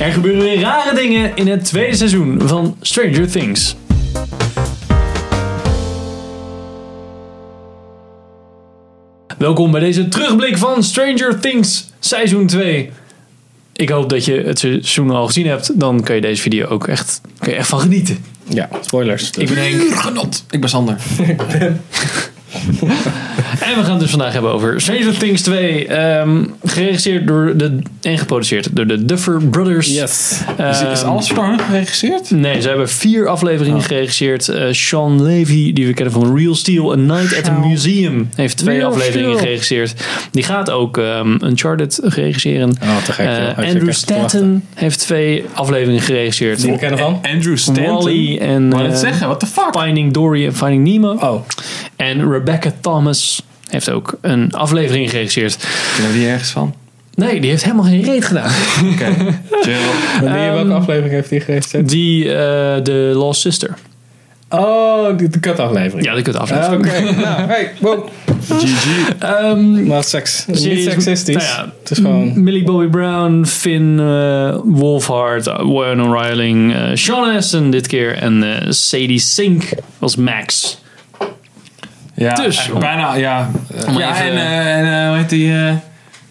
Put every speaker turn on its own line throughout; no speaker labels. Er gebeuren weer rare dingen in het tweede seizoen van Stranger Things. Welkom bij deze terugblik van Stranger Things seizoen 2. Ik hoop dat je het seizoen al gezien hebt. Dan kan je deze video ook echt, kan je echt van genieten.
Ja, spoilers.
Ik ben Henk.
Genot. Ik ben Sander.
En we gaan het dus vandaag hebben over Stranger Things 2. ehm, geregisseerd door de, en geproduceerd door de Duffer Brothers.
Yes.
Is, is
Ehm,
alles voor hen geregisseerd?
Nee, ze hebben vier
Oh.
afleveringen geregisseerd. Eh, Sean Levy, die we kennen van Real Steel, A Night at the Museum, heeft twee
Real
afleveringen
Steel.
geregisseerd. Die gaat ook ehm Uncharted regisseren.
Oh, te gek.
Eh,
joh. Ik zit
Andrew
echt te wachten.
Stanton heeft twee afleveringen geregisseerd.
Die we kennen van?
Andrew Stanton.
Wally en
Wou net
eh,
zeggen, what the fuck?
Finding Dory en Finding Nemo.
Oh,
En Rebecca Thomas heeft ook een aflevering geregisseerd.
Kennen we die ergens van?
Nee, die heeft helemaal geen reet gedaan.
Oké, Ehm, chill.
wanneer, welke aflevering heeft hij geregistreerd?
Die, eh, de Lost Sister.
Oh, de, de kutaflevering.
Ja, die kunt
Ah,
aflevering.
Oké, nou, hey, wow.
GG.
Ehm,
Maar seks. het is
Serie
Niet
is-
seksistisch.
nou ja,
het is gewoon...
Millie Bobby Brown, Finn eh, Wolfhard, uh, Warren O'Reilly, eh, Sean Aston dit keer en eh, Sadie Sink was Max.
Ja,
Dus.
eigenlijk bijna, ja.
maar
ja,
even-
en, eh, en eh, hoe heet die? eh,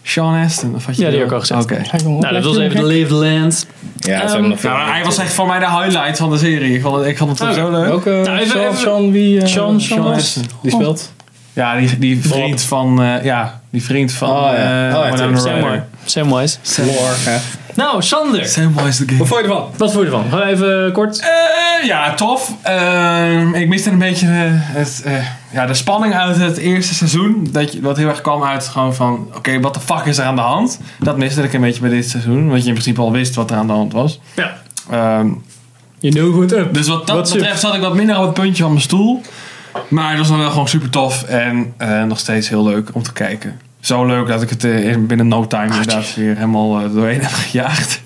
Sean Aston? Of had je
Ja, die heb ik al gezegd.
Oké.
Nou, dat was even de Live Land.
Ja, dat is
Ehm,
ook nog veel.
Nou, hij was echt voor mij de highlight van de serie. Ik vond het, ik vond het toch
Oh,
zo leuk.
Welke
Nou, even-
Sean,
even-
Sean, wie... eh,
Sean- Sean
Sean Oh.
was-
Aston.
Die speelt?
Ja, die, die vriend van... eh, ja, die vriend van...
Oh, ja.
eh,
Oh, ja,
Winona
tuurlijk.
Ryder.
Samwise. Samwise.
Lore. hè.
Nou, Sander.
Samwise the Game.
Wat vond je ervan?
Wat vond je ervan? Gaan we even kort.
Eh, ja, tof. Ehm, ik miste een beetje eh, het, eh, ja, de spanning uit het eerste seizoen. Dat, je, wat heel erg kwam uit gewoon van... Oké, wat de fuck is er aan de hand? Dat miste ik een beetje bij dit seizoen. Want je in principe al wist wat er aan de hand was.
Ja.
Ehm,
You know what up.
dus wat dat
Wat suf.
betreft zat ik wat minder op het puntje van mijn stoel. Maar het was dan wel gewoon super tof. En eh, nog steeds heel leuk om te kijken. Zo leuk dat ik het eh, in- binnen no time inderdaad weer helemaal eh, doorheen heb gejaagd.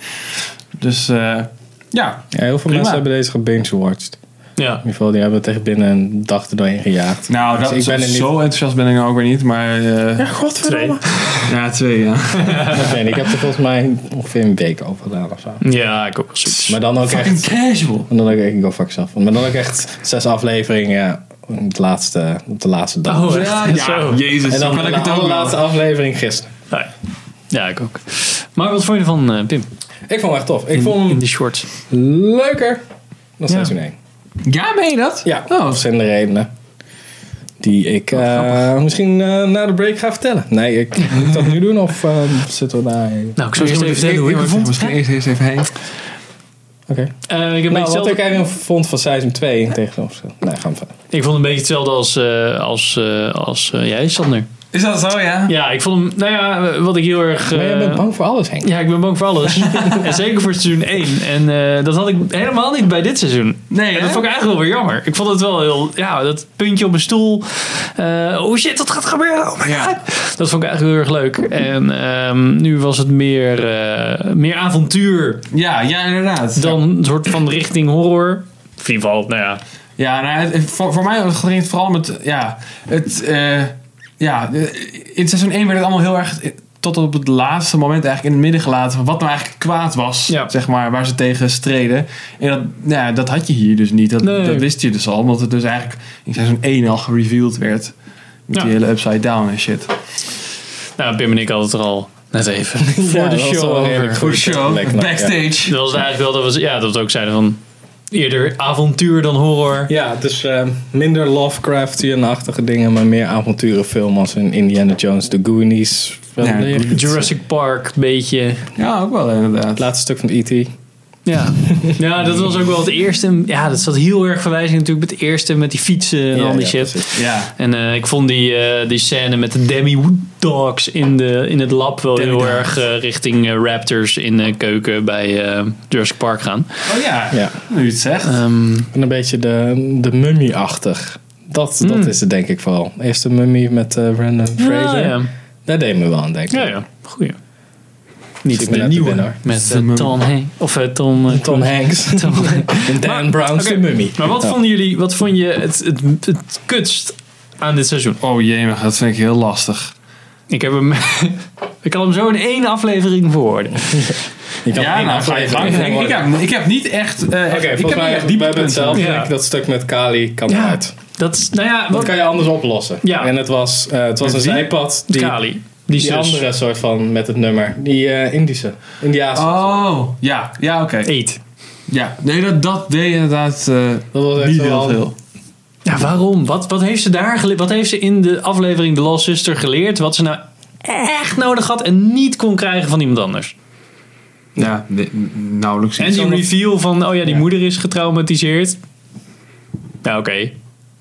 Dus eh, ja,
Ja, heel veel mensen hebben deze gebinge-watched. In
Ja.
ieder geval, die hebben het echt binnen een dag er doorheen gejaagd. Dus
Nou, dat,
ik ben er niet-
zo enthousiast ben ik nou ook weer niet, maar... eh, ja.
Twee.
twee, ja.
Ik weet niet, ik heb er volgens mij ongeveer een week over gedaan of zo.
Ja, ik ook wel zoiets.
Maar dan ook echt...
Fucking casual.
En dan ook echt, ik go fuck zelf. Maar dan ook echt zes afleveringen op, het laatste, op de laatste dag.
Oh,
Ja,
echt? Zo.
ja, jezus,
en
dan
dan
dus kan ik het
de
ook
allerlaatste
laten.
aflevering gisteren.
Nee. Ja, ik ook. Maar wat vond je ervan, eh, Pim?
Ik vond hem echt tof. Ik
In,
vond
in
hem
die shorts. Nou,
leuker
Ja.
dan seizoen 1.
Ja, ben je dat?
Ja,
Oh,
dat zijn de redenen die ik eh, misschien eh, na de break ga vertellen. Nee, ik moet ik dat nu doen of eh, zitten we daar... Oké.
Nou, ik zal eerst even vertellen hoe ik het vond.
Misschien
Eh,
eerst eerst even heen.
ik heb een beetje
Nou, wat
hetzelfde-
ik eigenlijk vond van seizoen 2 in tegenstelling... Nee, gaan we verder.
Ik vond het een beetje hetzelfde als, eh, als, eh, als eh, jij, Sander.
Is dat zo, ja?
Ja, ik vond hem. Nou ja, wat ik heel erg.
Maar jij
eh,
bent bang voor alles, Henk.
Ja, ik ben bang voor alles. en zeker voor seizoen 1. En eh, dat had ik helemaal niet bij dit seizoen.
Nee,
En
hè?
dat vond ik eigenlijk wel weer jammer. Ik vond het wel heel. Ja, dat puntje op mijn stoel. Eh, oh shit, dat gaat gebeuren. Oh my
Ja.
God. Dat vond ik eigenlijk heel erg leuk. En ehm, nu was het meer, eh, meer avontuur
Ja, ja, inderdaad.
dan een soort van richting horror. In ieder geval, nou ja.
Ja, nou, het- het- voor, voor mij ging het vooral met... Ja, het... eh, ja, de- in seizoen 1 werd het allemaal heel erg... Tot op het laatste moment eigenlijk in het midden gelaten van wat nou eigenlijk kwaad was,
Ja.
zeg maar, waar ze tegen streden. En dat, nou ja, dat had je hier dus niet. Dat,
Nee.
dat wist je dus al, omdat het dus eigenlijk in seizoen 1 al gereveeld werd. Met
Ja.
die hele upside down en shit.
Nou, Pim en ik hadden het er al net even. voor
Ja,
de
dat was
show.
wel
over.
redelijk
Voor de
Lekker
show,
knap, ja.
backstage.
Dat was eigenlijk wel dat we, ja, dat we ook zeiden van eerder avontuur dan horror.
Ja, dus eh, minder Lovecraftian-achtige dingen, maar meer avonturenfilm als in Indiana Jones, The Goonies. Wel
Ja,
leuk.
Goonies.
Jurassic Park, beetje.
Ja, ook wel
Het
inderdaad.
laatste stuk van E E.T.
Ja. ja, dat was ook wel het eerste. Ja, dat zat heel erg verwijzing natuurlijk met het eerste, met die fietsen en
Ja,
al die
ja,
shit.
precies.
Ja.
En eh, ik vond die, eh, die scène met de Demi Wood Dogs in, de, in het lab wel heel
Demi-dogs.
erg eh, richting eh, Raptors in de keuken bij eh, Jurassic Park gaan.
Oh ja,
Ja.
nu je het zegt.
Ehm,
En een beetje de, de mummy-achtig. Dat,
Hmm.
dat is het denk ik vooral. Eerst de mummy met eh Brandon Fraser.
ja, Ah, ja.
Daar deed me wel aan denken.
ja, ja. Goeie. Niet
ik
de
ben uit de
nieuwe,
bin, hoor.
Met eh, Tom Hanks. Of eh, Tom... eh,
Tom Hanks.
Tom
en Dan Brown's
Oké,
de mummy.
Maar wat
Ja.
vonden jullie, wat vond je het, het, het kutst aan dit seizoen?
Oh jee, maar dat vind ik heel lastig.
Ik heb hem, ik kan hem zo in één aflevering verwoorden.
Ik had
Ja,
één
nou, ga je gang.
aflevering
Ik, ik, heb, ik heb niet echt... eh, echt-
Oké,
ik heb
volgens
niet
mij
echt
hebben
diep
we hebben hetzelfde.
Ja.
Dat stuk met Kali kan
Ja.
eruit.
Dat is, nou ja,
Dat
wat,
kan je anders oplossen.
Ja.
En het was, eh, het was een
Met wie?
zijpad.
die,
Die,
Kali. Die,
die
zus. Ah.
andere soort van, met het nummer. Die eh, Indische. Indiaanse.
Oh, ja. Ja, oké.
Eet.
Ja. Nee, dat, dat deed inderdaad eh,
Dat was echt
niet
zo
heel
al-
veel.
Ja, waarom? Wat, wat heeft ze daar gele- Wat heeft ze in de aflevering The Lost Sister geleerd? Wat ze nou echt nodig had en niet kon krijgen van iemand anders?
Ja, nee, nauwelijks.
En
iets.
die
zal nog-
reveal van, oh ja, die moeder is getraumatiseerd. Nou, oké.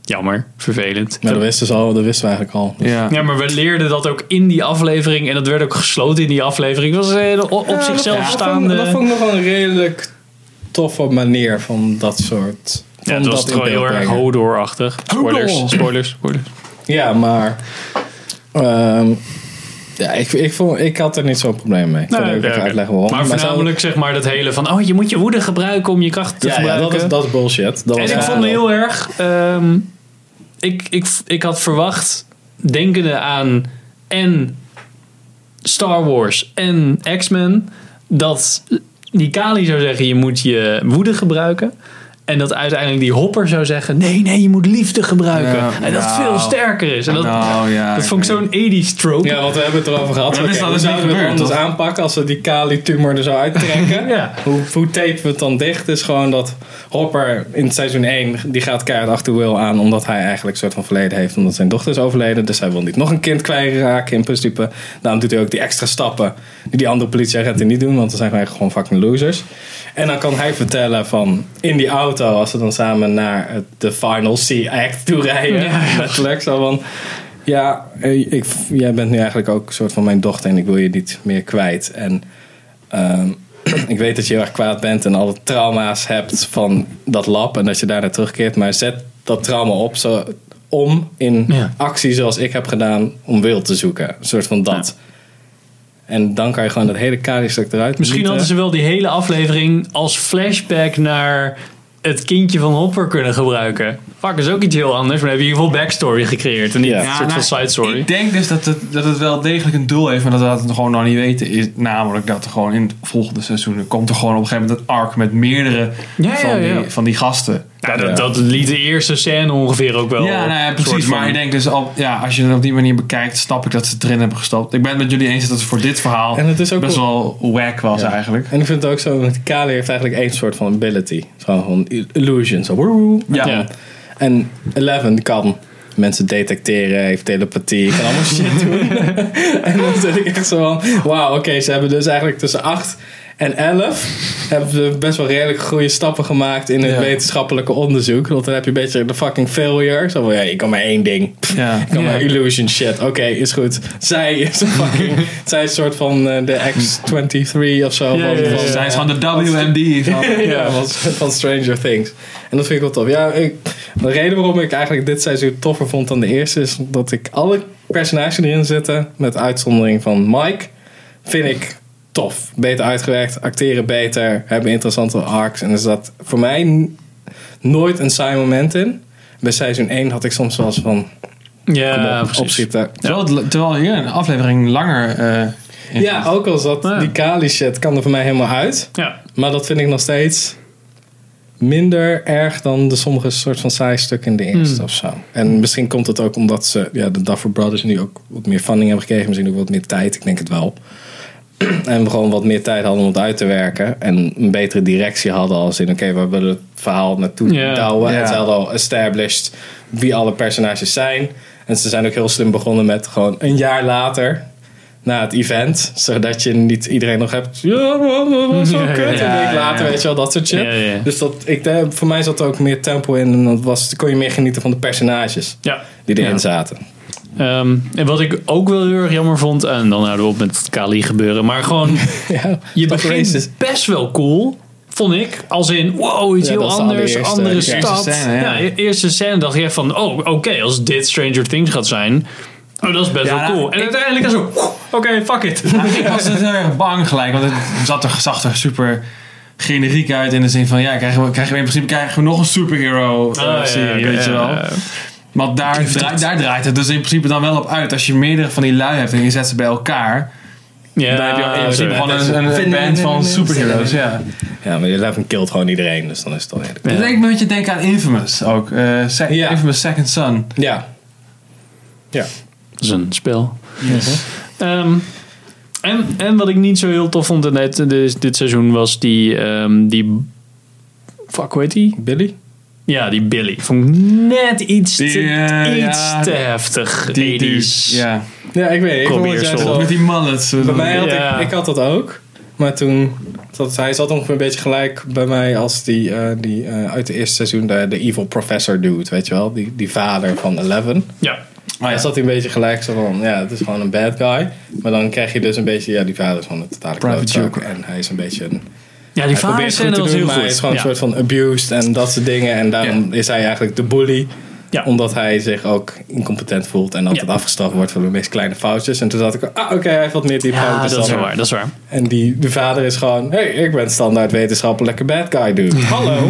Jammer. Vervelend.
Maar dat wisten ze al, dat wisten we eigenlijk al.
Ja.
Ja, maar we leerden dat ook in die aflevering. En dat werd ook gesloten in die aflevering. Dat was een hele op, op
Ja,
zichzelf
dat-
staande...
Dat vond ik nog wel een redelijk toffe manier van dat soort.
Ja,
van
het was
dat in
gewoon heel
beeld
erg
brengen.
Hodor-achtig. Spoilers,
Hodor.
spoilers, spoilers.
Ja, maar. ehm, ja, ik, ik, vond, ik had er niet zo'n probleem mee. Ik zal
Nee,
even
oké, oké.
uitleggen waarom.
Maar
ze hadden-
voornamelijk zeg maar dat hele van... Oh, je moet je woede gebruiken om je kracht te
Ja, ja,
gebruiken.
dat, is, dat is bullshit. Dat was
en ik
echt-
vond heel erg... ehm, ik, ik, ik had verwacht, denkende aan en Star Wars en X-Men... dat die Kali zou zeggen, je moet je woede gebruiken... En dat uiteindelijk die hopper zou zeggen: nee, nee, je moet liefde gebruiken.
Ja,
en dat het
nou.
veel sterker is. En dat,
nou, ja.
dat vond ik zo'n 80s trope.
Ja, want we hebben het erover gehad.
Maar dat
Oké,
is dan
hoe
dus niet
zouden we het
gebeurd,
anders aanpakken als we die Kali-tumor er zo uittrekken?
Ja.
hoe, hoe tapen we het dan dicht? Is gewoon dat Hopper in het seizoen 1 die gaat keihard achter Will aan. Omdat hij eigenlijk een soort van verleden heeft. Omdat zijn dochter is overleden. Dus hij wil niet nog een kind kwijtraken in principe. Daarom doet hij ook die extra stappen. Die die andere politieagenten niet doen. Want dan zijn wij gewoon fucking losers. En dan kan hij vertellen van in die auto. Als ze dan samen naar het, de final C-act toe rijden.
Ja, ja.
Letterlijk zo van... Ja, eh, ik, jij bent nu eigenlijk ook een soort van mijn dochter en ik wil je niet meer kwijt. En Ehm, ik weet dat je heel erg kwaad bent en alle trauma's hebt van dat lab en dat je daarna terugkeert. Maar zet dat trauma op zo, om in
Ja.
actie zoals ik heb gedaan om wil te zoeken. Een soort van dat. En dan kan je gewoon dat hele kadierstuk eruit
Misschien
mieten.
hadden ze wel die hele aflevering als flashback naar het kindje van Hopper kunnen gebruiken. Fuck, is ook iets heel anders, maar dan heb je in ieder geval backstory gecreëerd. En niet
Ja.
een soort van side story.
nou, Ik denk dus dat het, dat het wel degelijk een doel heeft, maar dat we dat gewoon nog niet weten. Is namelijk dat er gewoon in het volgende seizoen komt er gewoon op een gegeven moment een arc met meerdere
Ja,
van,
ja, ja.
Die, van die gasten.
Ja, Nou, dat, dat liet de eerste scène ongeveer ook wel.
ja, nou ja,
een soort
precies.
van-
Maar ik denk dus al, ja, als je het op die manier bekijkt, snap ik dat ze het erin hebben gestopt. Ik ben het met jullie eens dat het voor dit verhaal
En het is ook
best wel whack was eigenlijk.
En ik vind het ook zo, want Kali heeft eigenlijk één soort van ability. Zo van illusion. Zo, woehoe.
Ja.
Ja.
En Eleven kan mensen detecteren, heeft telepathie, kan allemaal shit doen. en dan zit ik echt zo van, wauw, oké, ze hebben dus eigenlijk tussen 8 en 11 hebben ze best wel redelijk goede stappen gemaakt in het
Ja.
wetenschappelijke onderzoek. Want dan heb je een beetje de fucking failure. Zo van, ja, je kan maar één ding. Pff,
Ja.
Ik kan
Ja.
maar illusion shit. Oké, is goed. Zij is een fucking, zij is een soort van eh, de X-23 of zo.
Ja,
van-
ja, ja.
van,
Zij is
eh,
gewoon de WMD van...
ja, van, van Stranger Things. En dat vind ik wel tof. Ja, ik, de reden waarom ik eigenlijk dit seizoen toffer vond dan de eerste is dat ik alle personages die erin zitten, met uitzondering van Mike, vind ik tof. Beter uitgewerkt, acteren beter, hebben interessante arcs. En er zat voor mij n- nooit een saai moment in. Bij seizoen 1 had ik soms wel eens van
ja,
kom op,
precies.
opschieten.
Terwijl, het- terwijl hier een aflevering langer... eh, in
Ja, ook al zat
Ja.
die Kali shit kan er voor mij helemaal uit.
Ja.
Maar dat vind ik nog steeds minder erg dan de sommige soort van saai stukken in de eerste of zo. En misschien komt het ook omdat ze, ja, de Duffer Brothers nu ook wat meer funding hebben gekregen. Misschien ook wat meer tijd, ik denk het wel. en we gewoon wat meer tijd hadden om het uit te werken. En een betere directie hadden als in, oké, we willen het verhaal naartoe
Ja,
douwen.
ja.
En ze hadden al established wie alle personages zijn. En ze zijn ook heel slim begonnen met gewoon een jaar later na het event. Zodat je niet iedereen nog hebt. Ja, dat was zo
Ja, ja,
kut.
ja,
een week
ja,
later,
ja.
weet je wel, dat soort shit.
Ja, ja, ja.
Dus dat, ik, eh, voor mij zat er ook meer tempo in. En dat was, kon je meer genieten van de personages
ja.
die erin
Ja.
zaten.
Ehm, en wat ik ook wel heel erg jammer vond, en dan houden we op met het Kali gebeuren, maar gewoon
Ja,
Je
dat racist.
begint best wel cool, vond ik. Als in, wow, iets
Ja,
heel
dat is
anders,
de allereerste-
andere
eerste
stad.
scène, ja.
e- eerste scène dacht je echt van, oh, oké, als dit Stranger Things gaat zijn... Oh, dat is best
Ja,
wel cool.
nou,
En
ik-
uiteindelijk is zo, oké, fuck it.
Nou, ik was dus heel erg bang gelijk, want het zat er, zag er super generiek uit in de zin van ja, krijgen we, krijgen we in principe krijgen we nog een superhero
Oh,
eh,
Ah,
serie, weet je wel. Want daar, draai- daar draait het dus in principe dan wel op uit. Als je meerdere van die lui hebt en je zet ze bij elkaar,
Ja,
Daar heb je al in
oké.
principe
Gewoon een, een, een band van superheroes, ja.
Ja, maar je Eleven killt gewoon iedereen, dus dan is het al eerlijk.
Ja.
Het leek me een beetje denken aan Infamous ook. eh, Sec-
Ja.
Infamous Second Son.
Ja. Ja.
Dat is een spel. Ehm, en, en wat ik niet zo heel tof vond in dit, dit, dit seizoen was die, ehm, die... Fuck, hoe heet die?
Billy?
Ja, die Billy. Vond ik net iets te,
Die, eh,
iets
ja,
te heftig.
Die dude.
80s.
Ja.
Ja, ik weet het. Ik vond het juist
Probeersel.
wel-
Met die mallets.
Bij mij had
Ja.
ik, ik had dat ook. Maar toen, dat, hij zat ongeveer een beetje gelijk bij mij als die, eh, die eh, uit het eerste seizoen, de, de evil professor dude, weet je wel? Die, die vader van Eleven.
Ja.
Maar
Hij zat hij een beetje gelijk zo van, ja, het is gewoon een bad guy. Maar dan krijg je dus een beetje, ja, die vader is gewoon een totale
Private
klootzak.
Joker.
En hij is een beetje een...
Ja, die
Hij probeert het goed
vaderscène
te
was
doen,
heel
maar hij is
goed.
gewoon
Ja.
een soort van abused en dat soort dingen. En daarom is hij eigenlijk de bully.
Ja.
Omdat hij zich ook incompetent voelt en altijd
Ja.
afgestraft wordt voor de meest kleine foutjes. En toen dacht ik, ah oké, hij valt meer die
Ja,
fouten
dat is
dan.
waar. Dat is waar.
En die, de vader is gewoon, hey, ik ben standaard wetenschappelijke bad guy dude. Hallo.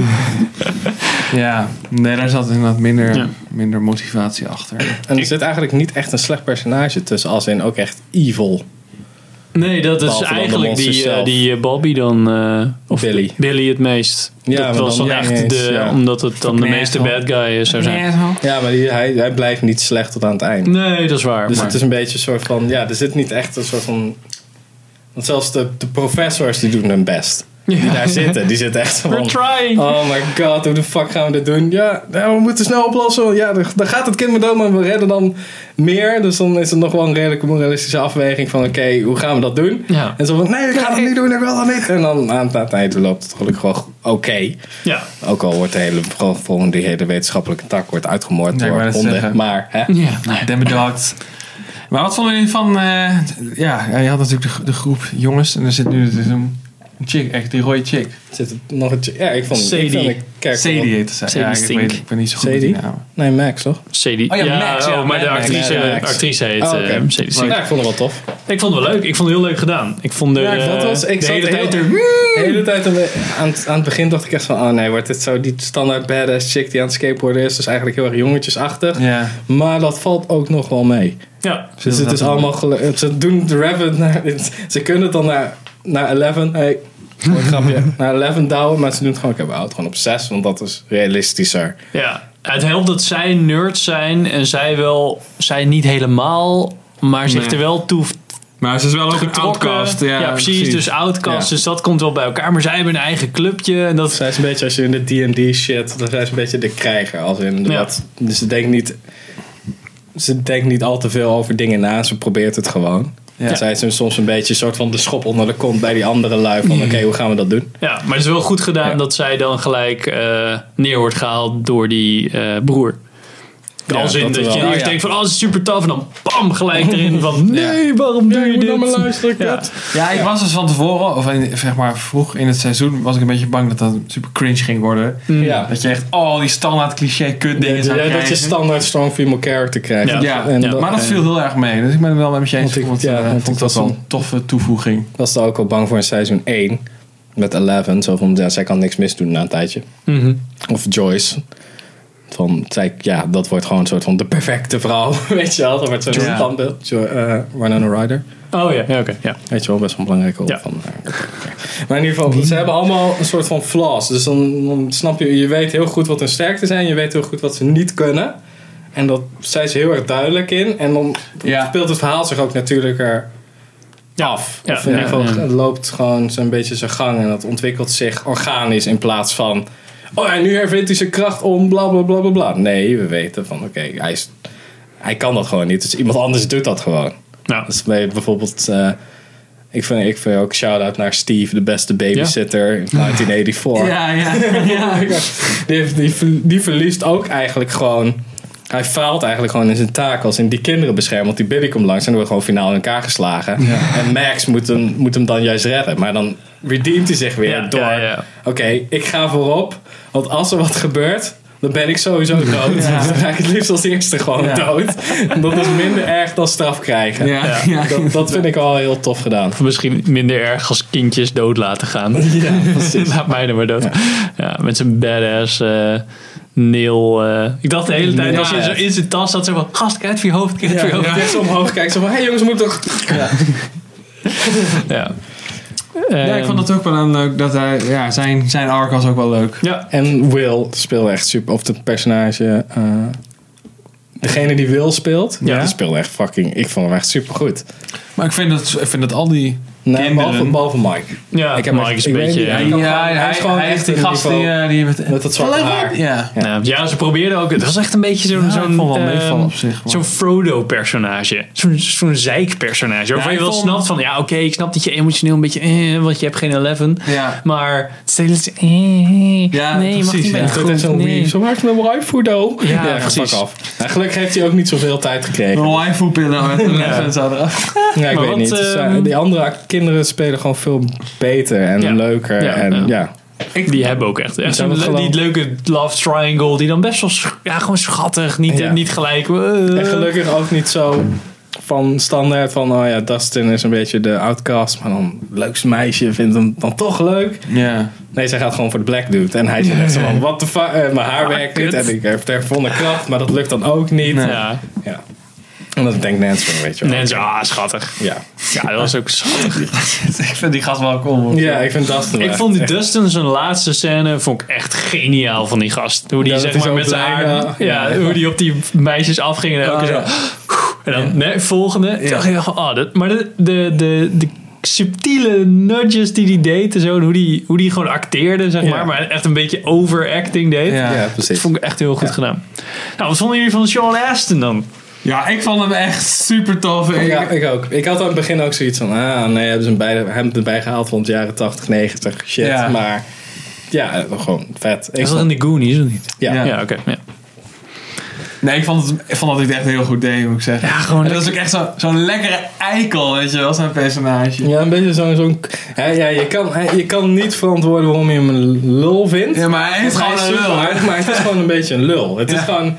Ja, nee, daar zat inderdaad minder,
Ja.
minder motivatie achter.
En er zit eigenlijk niet echt een slecht personage tussen, als in ook echt evil.
Nee, dat is
Behalve dan de
eigenlijk die,
monsters
eh,
zelf.
die eh, Bobby dan. eh, of
Billy.
Billy het meest.
Ja,
dat
maar
was dan
dan
echt
ineens,
de.
ja.
Omdat het dan de
Fucking
meeste
asshole.
bad guy eh, zou zijn.
Ja, maar die, hij, hij blijft niet slecht tot aan het eind.
Nee, dat is waar.
Dus
maar-
het is een beetje een soort van, ja, er zit niet echt een soort van... Want zelfs de, de professors die doen hun best. Die daar zitten, die zitten echt
We're
van...
trying!
Oh my god, hoe de fuck gaan we dit doen? Ja, nou, we moeten snel oplossen. Ja, dan dan gaat het kind maar dood, maar we redden dan meer. Dus dan is het nog wel een redelijke moralistische afweging van... Oké, hoe gaan we dat doen?
Ja.
En zo van, nee, ik ga dat niet doen, ik wil dat niet. En dan aan het eind loopt het gelukkig gewoon oké.
Ja.
Ook al wordt de hele, gewoon, gewoon die hele wetenschappelijke tak wordt uitgemoord
Nee, ik
door
wou net
honden.
zeggen.
Maar, hè?
Ja, nee.
Dan bedacht. Maar wat vonden jullie van... eh, ja, ja, je had natuurlijk de, de groep jongens. En er zit nu dus een een chick, echt die rode chick.
Zit het nog een... Ja, ik vond...
Sadie.
Ik vond ik kerk-
Sadie heette zij.
Sadie
Ja, ik,
Stink.
weet, ik ben niet zo goed met
Sadie?
die namen.
Nee, Max, toch?
Sadie.
Oh ja, Max, ja,
oh, maar de
Mad Max.
actrice,
Mad Max.
actrice heet
Oh,
eh
oké.
Sadie Sink.
Ja, ik vond het wel tof.
Ik vond het wel leuk. Ik vond het heel leuk gedaan. Ik vond de,
Ja, ik vond het wel- ik
de
zat
hele
heel-
tijd er...
De hele tijd aan, de- aan het, aan het begin dacht ik echt van... Oh nee, wordt dit zo die standaard badass chick die aan het skateboarden is. Dus eigenlijk heel erg jongetjesachtig.
Ja.
Maar dat valt ook nog wel mee.
Ja.
Dus het is allemaal... gelu- Ze doen de rabbit naar... Ze kunnen het dan naar, naar 11... Hey, mooi grapje. naar 11 douwen. Maar ze doen het gewoon... Oké, we houden het gewoon op 6. Want dat is realistischer.
Ja, het helpt dat zij nerds zijn en zij wel, zij niet helemaal, maar zich
Nee.
er wel toe
Maar ze is wel ook een
getrokken.
outcast. Ja,
precies, Dus outcast,
Ja.
dus dat komt wel bij elkaar. Maar zij hebben een eigen clubje en dat...
Zij is een beetje, als je in de D&D shit, dan zijn ze een beetje de krijger. Als in de
Ja.
wat. Dus ze denkt niet... Ze denkt niet al te veel over dingen na. Ze probeert het gewoon.
Ja.
Zij is soms een beetje een soort van de schop onder de kont bij die andere lui. Van oké, hoe gaan we dat doen?
Ja, maar het is wel goed gedaan
Ja.
dat zij dan gelijk eh, neer wordt gehaald door die eh, broer.
Ja,
Als in
dat
dat,
wel.
je
Oh,
eerst
ja.
denkt van, oh, het is super tof. En dan bam, gelijk erin van, nee, waarom doe je dit?
luisteren,
Ja.
Ja, ik was dus van tevoren, of in- zeg maar vroeg in het seizoen, was ik een beetje bang dat dat super cringe ging worden.
Ja.
Dat je echt al die standaard cliché kut dingen zou
Mm. Ja,
krijgen.
dat je standaard strong female character krijgt.
Ja.
Ja,
En
Ja.
dat-
maar dat viel heel erg mee. Dus ik ben het wel met je eens.
Want ik-
Ik vond,
ja,
eh,
want
vond
ik
dat
was
wel
een-
een toffe toevoeging.
was er ook al bang voor in seizoen 1. Met 11. Zo van, ja, zij kan niks misdoen na een tijdje.
Mhm.
Of Joyce. Van, zij, ja, dat wordt gewoon een soort van de perfecte vrouw. Weet je wel, dat wordt zo'n
Ja.
standbeeld. Jo- eh, Winona Ryder.
Oh ja, ja oké. ja.
Weet je wel, best wel een belangrijke rol
Ja.
van eh, haar. Maar in ieder geval, ze hebben allemaal een soort van flaws. Dus dan, dan snap je, je weet heel goed wat hun sterkte zijn. Je weet heel goed wat ze niet kunnen. En dat zijn ze heel erg duidelijk in. En dan
Ja.
speelt het verhaal zich ook natuurlijker
Ja.
af.
Ja,
of eh, in ieder geval
ja, ja.
het loopt gewoon zo'n beetje zijn gang. En dat ontwikkelt zich organisch in plaats van... Oh, en nu hervindt hij zijn kracht om, bla bla bla bla bla. Nee, we weten van, oké, hij, is- hij kan dat gewoon niet. Dus iemand anders doet dat gewoon.
Nou,
Dat is bij bijvoorbeeld. eh, ik, vind, ik vind ook shout-out naar Steve, de beste babysitter in 1984.
Ja, ja, ja.
Die, heeft, die, ver- die verliest ook eigenlijk gewoon. Hij faalt eigenlijk gewoon in zijn taak als in die kinderen beschermen. Want die Billy komt langs en dan wordt gewoon finaal in elkaar geslagen. En Max moet hem, moet hem dan juist redden. Maar dan redeemt hij zich weer
Ja,
door.
ja, ja.
Oké, ik ga voorop. Want als er wat gebeurt, dan ben ik sowieso dood.
Ja.
Dan ga ik het liefst als eerste gewoon
Ja.
dood. Dat is minder erg dan straf krijgen.
ja,
Ja.
ja.
Dat, dat vind ik al heel tof gedaan.
misschien minder erg als kindjes dood laten gaan.
Ja, precies.
Laat mij er maar dood. Ja. met zijn badass eh nail. eh. ik dacht de hele tijd
Ja.
als je zo in zijn tas zat, zo van gast, kijk voor je hoofd, kijk voor je hoofd.
omhoog kijken, zo van, hé hey jongens, we moeten toch...
ja.
Ja,
Ehm,
ik vond dat ook wel een leuk. Dat hij, ja, zijn, zijn arc was ook wel leuk.
Ja,
En Will speelde echt super. Of het personage. eh, degene die Will speelt.
Ja.
Die speelde echt fucking. Ik vond hem echt super goed.
Maar ik vind dat, ik vind dat al die...
Nee,
Kinderen.
behalve, behalve Mike.
ja
Ik heb
Mike
echt-
is een
ik weet
beetje... eh,
niet,
ja.
hij- kan gewoon- hij is gewoon echt
die
een
gast die,
niveau-
eh, die met,
Met dat zwarte haar.
Ja.
Ja, ja, ze probeerden ook. Het was echt een beetje zo'n.
Ja, ik
zo'n,
vond wel
ehm,
meevallen op zich, maar-
Zo'n Frodo-personage. Zo'n, zo'n zeik-personage. Waarvan
Ja,
je
ik
wel
vond-
snapt van. Ja, oké, ik snap dat je emotioneel een beetje. Eh, want je hebt geen Eleven.
Ja.
Maar het is de hele tijd, eh,
Ja,
nee, je mag
precies,
niet
ja.
met
Echt
goed,
zo'n
nee.
nee. Zo maakt me mooi voor doe.
Ja,
ga
precies.
fuck af. Nou, gelukkig heeft hij ook niet zoveel tijd gekregen.
Een waifu-pillen met een lens en zo eraf.
Ja, ik
Maar
weet
wat,
niet. Dus, eh,
ehm,
die andere kinderen spelen gewoon veel beter en
Ja.
leuker.
Ja,
en
ja.
ja.
Die hebben ook echt, echt
Zou
zo'n
dat
le- die
geloof-
leuke love triangle. Die dan best wel sch- ja, gewoon schattig. Niet,
Ja.
niet gelijk. eh,
En gelukkig ook niet zo van standaard van, oh ja, Dustin is een beetje de outcast, maar dan leukste meisje vindt hem dan toch leuk.
Ja.
Nee, zij gaat gewoon voor de black dude. En hij zegt echt zo van, what the fuck, eh, mijn haar
Ah,
werkt
kut.
niet en ik heb er volle kracht, maar dat lukt dan ook niet.
Nee.
Ja,
Ja. En dat denkt Nancy van, weet je wel.
nee, zo, ah, schattig.
Ja.
Ja, dat was ook schattig.
ik vind die gast wel cool.
ja, ik vind Dustin
Ik
echt-
vond die
echt-
Dustin zijn laatste scène vond ik echt geniaal van die gast. Hoe die
Ja,
zeg
dat hij
maar
zo
met zijn haar,
blij,
ja,
ja. Ja, ja.
hoe die op die meisjes afging en elke
Ah,
keer
ja.
zo. En dan nee, volgende. Toen
Ja.
dacht ik echt van, ah, dat, maar de, de, de, de subtiele nudges die die deed en zo, en hoe die, hoe die gewoon acteerde zeg
Ja.
maar, maar echt een beetje overacting deed.
Ja.
Ja,
Dat
precies.
vond ik echt heel goed gedaan. Nou, wat vonden jullie van Sean Astin dan?
Ja, ik vond hem echt super tof. Ik-
Ja, ik ook. Ik had aan het begin ook zoiets van, ah nee, hebben ze hem, bij, hem erbij gehaald van de jaren 80, 90, shit.
Ja.
Maar ja, gewoon vet. Ik
Is dat
vond-
in de Goonies of niet?
ja.
Ja.
Ja, oké. ja.
Nee, ik vond, het, ik vond dat hij het echt heel goed deed, moet ik zeggen.
Ja, gewoon
en dat is ook echt zo- zo'n lekkere eikel, weet je wel, zijn personage.
Ja, een beetje zo'n... zo'n ja, ja, je, kan, hij- je kan niet verantwoorden waarom je hem een lul vindt.
Ja, maar hij is
Want
gewoon
hij
een
super
lul.
aardig, Maar het is gewoon een beetje een lul. Het is
Ja.
gewoon...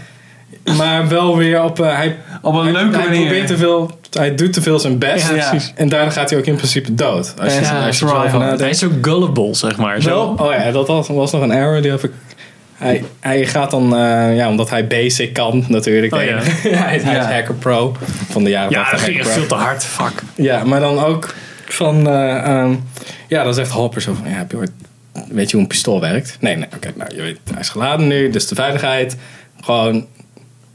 Maar wel weer op... eh, hij,
Op een
hij,
leuke
hij
manier.
probeert te veel... Hij doet te veel zijn best.
Ja, precies.
En daarna gaat hij ook in principe dood. Als je,
Ja,
als je er zo
try
over
hard.
nadenkt.
Hij is zo gullible, zeg maar. Zo.
Wel, oh ja, dat was, was nog een error. Die heb ik. Hij, hij gaat dan, eh, ja, omdat hij basic kan natuurlijk.
Oh ja.
hij, hij
Ja.
is hacker pro van de jaren
Ja,
80
dat ging
hacker
echt
pro.
veel te hard. Fuck.
Ja, maar dan ook van, eh, ehm, ja, dan zegt Hopper zo van, ja, heb je ooit- weet je hoe een pistool werkt? Nee, nee, oké, nou, je weet, hij is geladen nu, dus de veiligheid, gewoon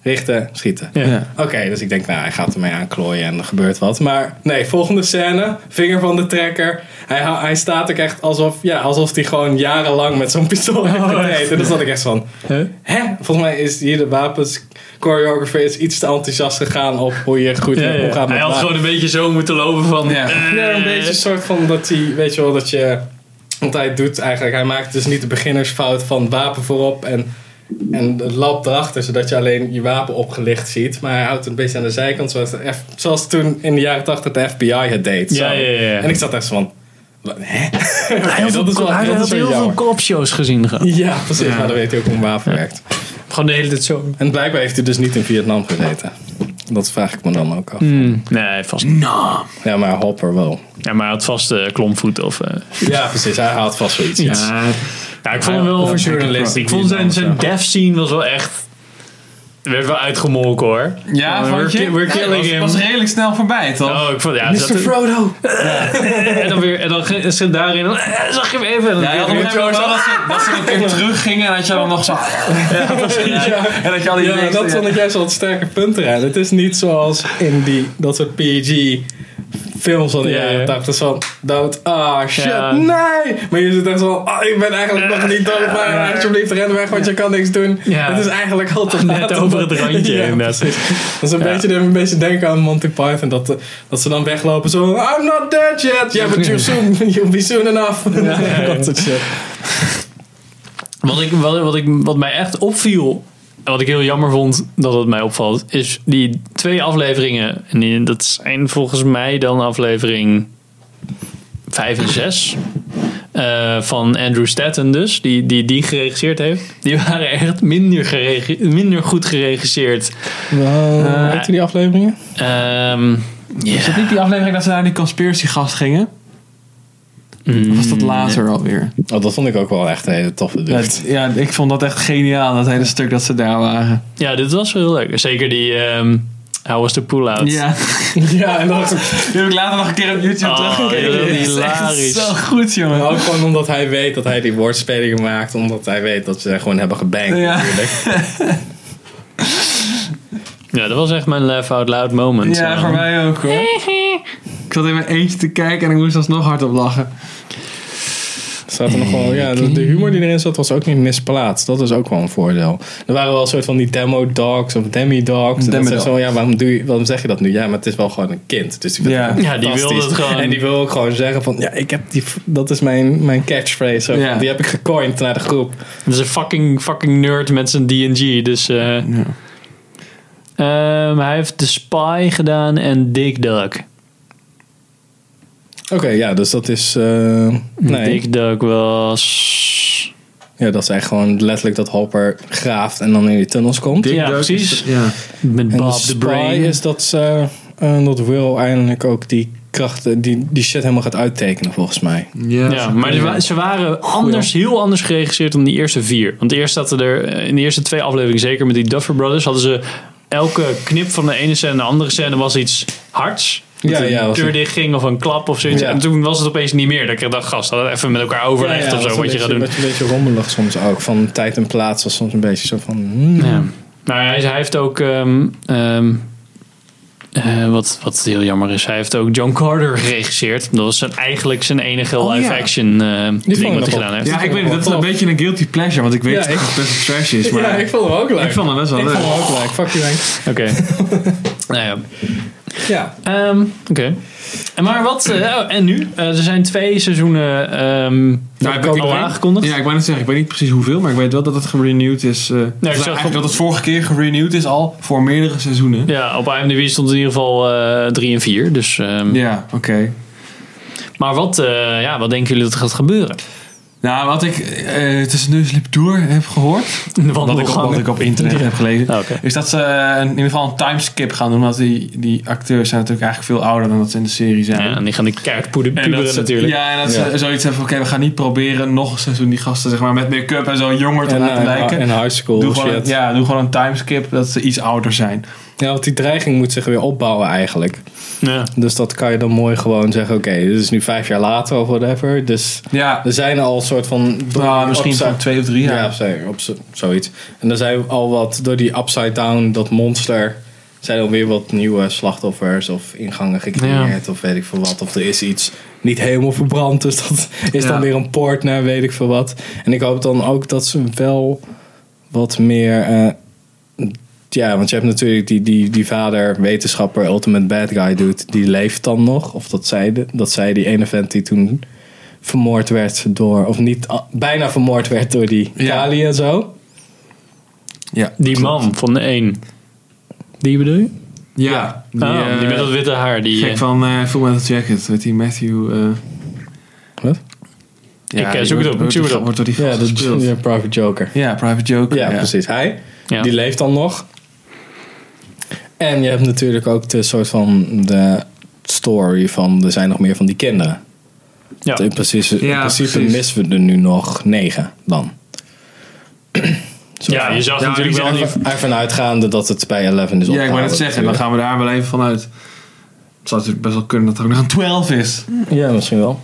richten, schieten.
Ja.
Oké, dus ik denk, nou, hij gaat ermee aanklooien en er gebeurt wat. Maar nee, volgende scène, vinger van de trekker. Hij, ha- hij staat ook echt alsof, ja, alsof hij gewoon jarenlang met zo'n pistool
Oh,
heeft gereden. En dan zat ik echt van, hè? Volgens mij is hier de wapens choreographer is iets te enthousiast gegaan op hoe je goed
Ja, ja.
omgaat met
Hij had
wapens.
gewoon een beetje zo moeten lopen van...
Ja.
eh,
Ja, een beetje een soort van dat hij, weet je wel, dat je. Want hij doet eigenlijk, hij maakt dus niet de beginnersfout van wapen voorop en, en het lab erachter, zodat je alleen je wapen opgelicht ziet. Maar hij houdt het een beetje aan de zijkant, zoals, de F- zoals toen in de jaren 80 de FBI het deed.
Ja,
Zo.
ja, ja.
En ik zat echt zo van, wat, hè?
Hij had
Oké,
heel
dat is
veel-
wel,
hij
dat
had
is wel
heel veel
jammer.
kopshows gezien. gehad.
Ja, precies, maar dan weet hij ook hoe een wapen werkt.
Gewoon de hele tijd zo.
En blijkbaar heeft hij dus niet in Vietnam gezeten. Dat vraag ik me dan ook af.
Hmm. Nee, vast niet.
Nou.
Ja, maar Hopper wel.
Ja, maar hij had vast eh, klomvoet of... eh,
Ja, precies, hij haalt vast zoiets. iets.
ja, ik vond hem wel...
Of journalist.
Ik vond zijn, zijn death scene was wel echt... Werd wel uitgemolken hoor.
Ja,
We're
vond je?
ki- we're
Ja,
killing
was-
him.
was redelijk snel voorbij, toch?
Oh, ik vond... Ja, er zat-
Frodo!
en dan weer... En dan ge- zit daarin... dan, eh, zag je hem even? En dan
Ja, je had op een
weer-
gegeven moment wel dat ze, dat ze een keer teruggingen en dat je dan nog zo...
Ja.
En dat je al die
Ja,
dingen-
maar dat vond ik juist wel het sterke punt eraan. Het is niet zoals in die, dat soort PG films van de
Ja, ja.
jaren 80 van dood, ah shit,
Ja.
nee! Maar je zit echt zo van, ah, ik ben eigenlijk nog niet dood, maar alsjeblieft ren weg, want je kan niks doen.
Ja.
Het is eigenlijk altijd
Net over het randje, inderdaad.
Dat is een
Ja.
beetje, een beetje denken aan Monty Python, dat, eh, dat ze dan weglopen zo, I'm not dead yet, yeah, but you're soon, you'll be soon enough. dat soort shit.
Wat, ik, wat, wat, ik, wat mij echt opviel, en wat ik heel jammer vond dat het mij opvalt, is die twee afleveringen. En die, dat zijn volgens mij dan aflevering 5 en 6. eh, van Andrew Statten dus, die, die die geregisseerd heeft. Die waren echt minder, geregi- minder goed geregisseerd.
Uh,
weet je
die afleveringen?
Ehm
Is dat niet die aflevering dat ze naar die conspiracy gast gingen? Of was dat
Mm.
later alweer?
Oh, dat vond ik ook wel echt een hele toffe
Ja,
dude.
het- ja, ik vond dat echt geniaal, dat hele stuk dat ze daar waren.
Ja, dit was wel heel leuk. Zeker die, ehm, How was the pull-out?
Ja.
Ja, en dat
Die heb ik later nog een keer op YouTube
Oh,
teruggekeken.
joh,
Dit is echt
hilarisch.
Zo goed, jongen.
ook gewoon omdat hij weet dat hij die woordspelingen maakt. Omdat hij weet dat ze gewoon hebben gebankt
Ja.
natuurlijk.
Ja, dat was echt mijn laugh out loud moment.
Ja,
Ehm,
voor mij ook hoor. Ik zat in mijn eentje te kijken en ik moest alsnog hardop lachen.
Zat er nog wel, ja, de, de humor die erin zat was ook niet misplaatst. Dat is ook wel een voordeel. Er waren wel een soort van die demo dogs of demi dogs. En dat is
Demi-dog.
zo, ja, waarom, doe je, waarom zeg je dat nu? Ja, maar het is wel gewoon een kind. Dus die,
Ja.
Ja, die wilde het gewoon.
En die wil ook gewoon zeggen van, ja, ik heb die, dat is mijn, mijn catchphrase. Zo,
Ja.
Die heb ik gecoind naar de groep.
Dat is een fucking, fucking nerd met zijn D&G. Dus eh, ehm, hij heeft The Spy gedaan en Dick Duck.
Oké, ja, dus dat is, eh, nee.
Dick Duck was...
Ja, dat is echt gewoon letterlijk dat Hopper graaft en dan in die tunnels komt.
ja, precies.
Ja.
Met
En de
Bob
spy
the Brain.
is dat, ze, eh, dat Will eindelijk ook die krachten, die, die shit helemaal gaat uittekenen volgens mij.
Ja.
Ja, maar ze, wa- ze waren anders, heel anders geregisseerd dan die eerste vier. Want eerst zaten er eh, in de eerste twee afleveringen, zeker met die Duffer Brothers, hadden ze elke knip van de ene scène naar de andere scène was iets hards. Dat
Ja,
een
ja, was
deur
een-
dicht ging of een klap of zoiets.
Ja.
En toen was het opeens niet meer. Dat ik dacht, gast, hadden we even met elkaar overlegd
Ja, ja,
of zo
dat
wat
is
je
een
gaat
beetje-
doen.
dat is een beetje rommelig soms ook. Van tijd en plaats was soms een beetje zo van... hmm.
Ja. Maar hij, hij heeft ook, ehm, ehm, eh, wat, wat heel jammer is, hij heeft ook John Carter geregisseerd. Dat was zijn, eigenlijk zijn enige
Oh, ja.
live-action eh ding
ik
wat
nog
hij
wel-
gedaan heeft.
Ja, ik weet niet, dat is een beetje een guilty pleasure, want ik weet
Ja,
dat
ik-
het best trash is, maar ik,
vond hem ook leuk.
vond het best wel
Ik
leuk.
vond hem ook leuk. Fuck you, Henk.
Oké. nou ja.
Ja.
Ehm, Oké. En Maar wat. eh, oh, en nu? Eh, er zijn twee seizoenen ehm
Nou, ik-
al
ik- ik-
aangekondigd.
Ja, ik wou net zeggen, ik weet niet precies hoeveel, maar ik weet wel dat het gerenewd is. eh dat,
zag
eigenlijk
op-
dat het vorige keer gerenewd is al voor meerdere seizoenen.
Ja, op IMDb stond in ieder geval eh, drie en vier. Dus, ehm,
Ja, oké.
Maar wat, eh, ja, wat denken jullie dat er gaat gebeuren?
Nou, wat ik eh, tussen neus en lip door heb gehoord, wat ik, op, wat ik op internet heb gelezen,
Ah, oké.
is dat ze eh, in ieder geval een timeskip gaan doen, omdat die, die acteurs zijn natuurlijk eigenlijk veel ouder dan dat ze in de serie zijn.
Ja, en die gaan die keihard poeder-
En
puberen
dat ze-
natuurlijk.
Ja, en dat
Ja.
ze zoiets hebben van, oké, we gaan niet proberen nog een seizoen die gasten zeg maar, met make-up en zo jonger te
En,
laten lijken.
eh, en high school
doe, gewoon
shit.
een,
ja.
ja, doe gewoon een timeskip dat ze iets ouder zijn.
want die dreiging moet zich weer opbouwen eigenlijk.
Ja.
Dus dat kan je dan mooi gewoon zeggen... Oké, dit is nu vijf jaar later of whatever. Dus
Ja,
er zijn al een soort van...
nou, misschien
upside-
van twee of drie
Ja,
jaar.
op, zijn- op z- zoiets. En er zijn al wat, door die upside down, dat monster, zijn er weer wat nieuwe slachtoffers of ingangen gecreëerd of weet ik veel wat. Of er is iets niet helemaal verbrand, dus dat is
Ja.
dan weer een poort naar weet ik veel wat. En ik hoop dan ook dat ze wel wat meer... eh, ja, want je hebt natuurlijk die, die, die vader, wetenschapper, ultimate bad guy dude, die leeft dan nog. Of dat zij, de- dat zij die ene vent die toen vermoord werd door, of niet, ah, bijna vermoord werd door die
Ja.
Kali en zo.
Ja,
Die man van de één. Die bedoel je?
ja.
Die,
eh,
die met dat witte haar. Die,
gek
eh,
van eh Full Metal Jacket, weet die Matthew... eh
Wat?
Ik, eh,
die
zoek het op,
wordt-
ik zoek het op.
Wordt door die
Ja,
gast
dat is
gespeeld.
ja, Private Joker.
Ja, Private Joker.
Ja, precies. Hij,
ja.
die leeft dan nog. En je hebt natuurlijk ook de soort van de story van er zijn nog meer van die kinderen.
Ja.
Want In, precies, in
Ja,
principe
precies.
missen we er nu nog negen dan. Zo
Ja,
van-
je zag
Ja,
natuurlijk
die
wel
zijn
die...
Ervan- Ervan uitgaande dat het bij 11 is
Ja, ik wou net
opgehouden
zeggen, dan gaan we daar wel even vanuit. Het zou natuurlijk best wel kunnen dat er ook nog een 12 is.
natuurlijk. Ja, misschien wel.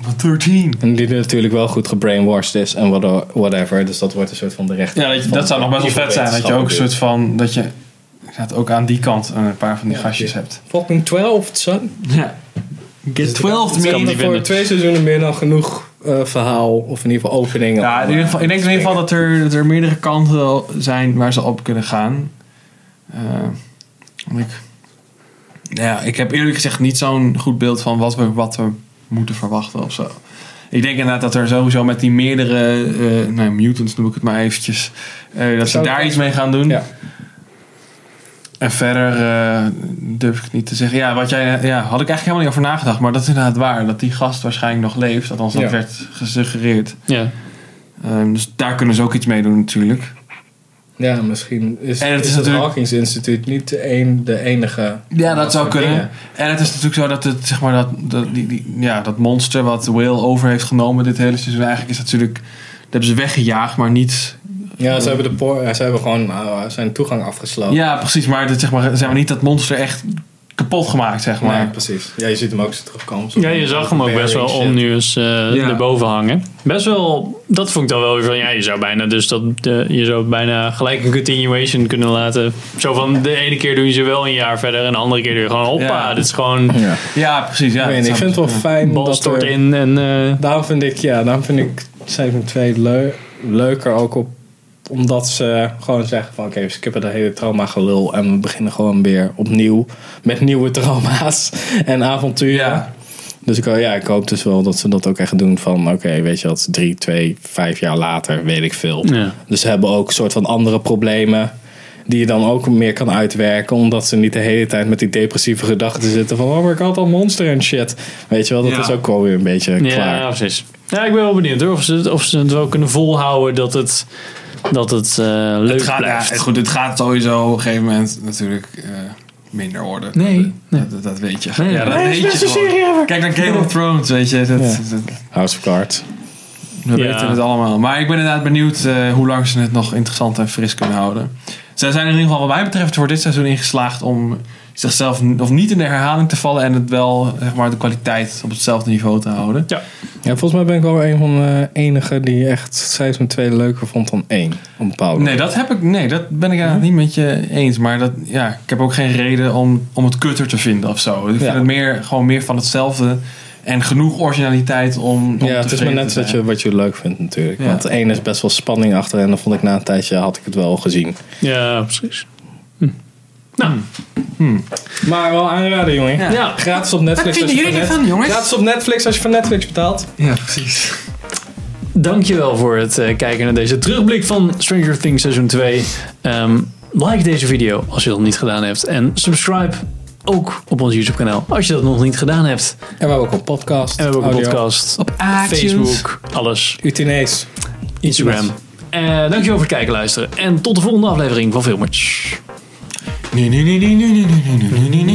Of een 13.
En die natuurlijk wel goed gebrainwashed is en whate- whatever. Dus dat wordt een soort van de rechter.
Ja, dat,
van
dat zou nog best wel vet zijn. Dat je ook een
wetenschapper
soort van. Dat je dat ook aan die kant een paar van die
Ja,
gastjes
ja.
hebt.
doet. Fucking 12, son.
Ja. Get 12
Het
kan
kan
niet
er voor
vinden.
twee seizoenen meer dan genoeg eh, verhaal. Of in ieder geval openingen.
Ja, in ieder geval, ik denk in ieder geval dat er, dat er meerdere kanten wel zijn waar ze op kunnen gaan. Eh, want ik, nou ja, ik heb eerlijk gezegd niet zo'n goed beeld van wat we, wat we moeten verwachten of zo. Ik denk inderdaad dat er sowieso met die meerdere eh, nou, mutants, noem ik het maar eventjes, eh, dat ze
Zou-
daar iets mee gaan doen.
Ja.
En verder eh, durf ik het niet te zeggen. Ja, wat jij, ja, had ik eigenlijk helemaal niet over nagedacht. Maar dat is inderdaad waar. Dat die gast waarschijnlijk nog leeft. Althans, dat
Ja.
werd gesuggereerd.
Ja.
Ehm, dus daar kunnen ze ook iets mee doen natuurlijk.
Ja, misschien is,
En het
het,
is
is het
natuurlijk-
Hawkins Instituut niet de, een, de enige.
Ja, dat
soort
zou kunnen.
dingen.
En het is natuurlijk zo dat het, zeg maar, dat, dat, die, die, ja, dat monster wat Will over heeft genomen dit hele seizoen. Eigenlijk is dat natuurlijk, dat hebben ze weggejaagd, maar niet
Ja, ze hebben, de poor- ja, ze hebben gewoon eh, zijn toegang afgesloten.
Ja, precies. Maar, dat, zeg maar ze hebben niet dat monster echt kapot gemaakt, zeg maar.
Nee, precies. Ja, je ziet hem ook zo terugkomen.
Ja, je zag hem ook best wel om nu eens eh
Ja.
erboven hangen. Best wel, dat vond ik dan wel weer van, ja, je zou bijna dus dat, eh, je zou bijna gelijk een continuation kunnen laten. Zo van, de ene keer doe je ze wel een jaar verder en de andere keer doe je gewoon, hoppa,
Ja.
dit is gewoon,
Ja.
Ja, precies. Ja,
Ik, weet niet, ik
dat
vind het
zou-
wel fijn
bal
dat
stort
er-
in en... eh,
Daarom vind ik, ja, daarom vind ik seizoen 2 leu- leuker ook op omdat ze gewoon zeggen van oké, we skippen dat hele trauma gelul en we beginnen gewoon weer opnieuw met nieuwe trauma's en avonturen.
Ja.
Dus ik, ja, ik hoop dus wel dat ze dat ook echt doen van oké, weet je wat, drie, twee, vijf jaar later, weet ik veel.
Ja.
Dus ze hebben ook een soort van andere problemen die je dan ook meer kan uitwerken. Omdat ze niet de hele tijd met die depressieve gedachten zitten van oh, maar ik had al monster en shit. Weet je wel, dat
Ja.
is ook wel weer een beetje klaar.
Ja, precies. Ja, ik ben wel benieuwd hoor, of, ze, het- of ze het wel kunnen volhouden dat het, dat het eh, leuk
het gaat,
blijft.
Ja, het, goed, het gaat sowieso op een gegeven moment natuurlijk eh, minder worden.
Nee,
Dat-
nee.
Dat, dat weet je.
Nee,
ja, dat
nee,
weet je gewoon. Kijk naar Game of Thrones, weet je. Dat,
Ja.
dat-
House of Cards.
we
Ja.
weten het allemaal. Maar ik ben inderdaad benieuwd eh, hoe lang ze het nog interessant en fris kunnen houden. Zij zijn er in ieder geval wat mij betreft voor dit seizoen ingeslaagd om zichzelf n- of niet in de herhaling te vallen en het wel zeg maar, de kwaliteit op hetzelfde niveau te houden.
Ja, volgens mij ben ik wel een van de enigen die echt seizoen 2 leuker vond dan 1. Op een bepaalde
Nee, dat heb ik. Nee, dat ben ik eigenlijk niet met je eens. Maar dat, ja, ik heb ook geen reden om, om het kutter te vinden of zo. Ik vind
Ja.
het meer, gewoon meer van hetzelfde. En genoeg originaliteit om. om
manier. Ja, het is maar
tevreden
net
te
wat
zijn.
je, wat je leuk vindt natuurlijk.
Ja.
Want 1 is best wel spanning achter en dan vond ik na een tijdje had ik het wel gezien.
Ja, precies. Hm.
Maar wel aanraden, jongen.
Nou, Ja.
Ja,
Gratis op Netflix.
Wat
als je
vinden jullie
van Net-
ervan, jongens?
Gratis op Netflix als je van Netflix betaalt.
Ja, precies.
Dankjewel voor het eh, kijken naar deze terugblik van Stranger Things seizoen 2. Ehm, like deze video als je dat niet gedaan hebt. En subscribe ook op ons YouTube kanaal als je dat nog niet gedaan hebt. En
En we hebben ook een podcast.
we hebben ook een
Audio.
podcast, op
Facebook.
Facebook, alles.
Utinees.
Instagram. Eh, dankjewel voor het kijken, luisteren. En tot de volgende aflevering van Filmers.
Nee, nee, nee, nee, nee, nee, nee, nee, nee, nee, nee.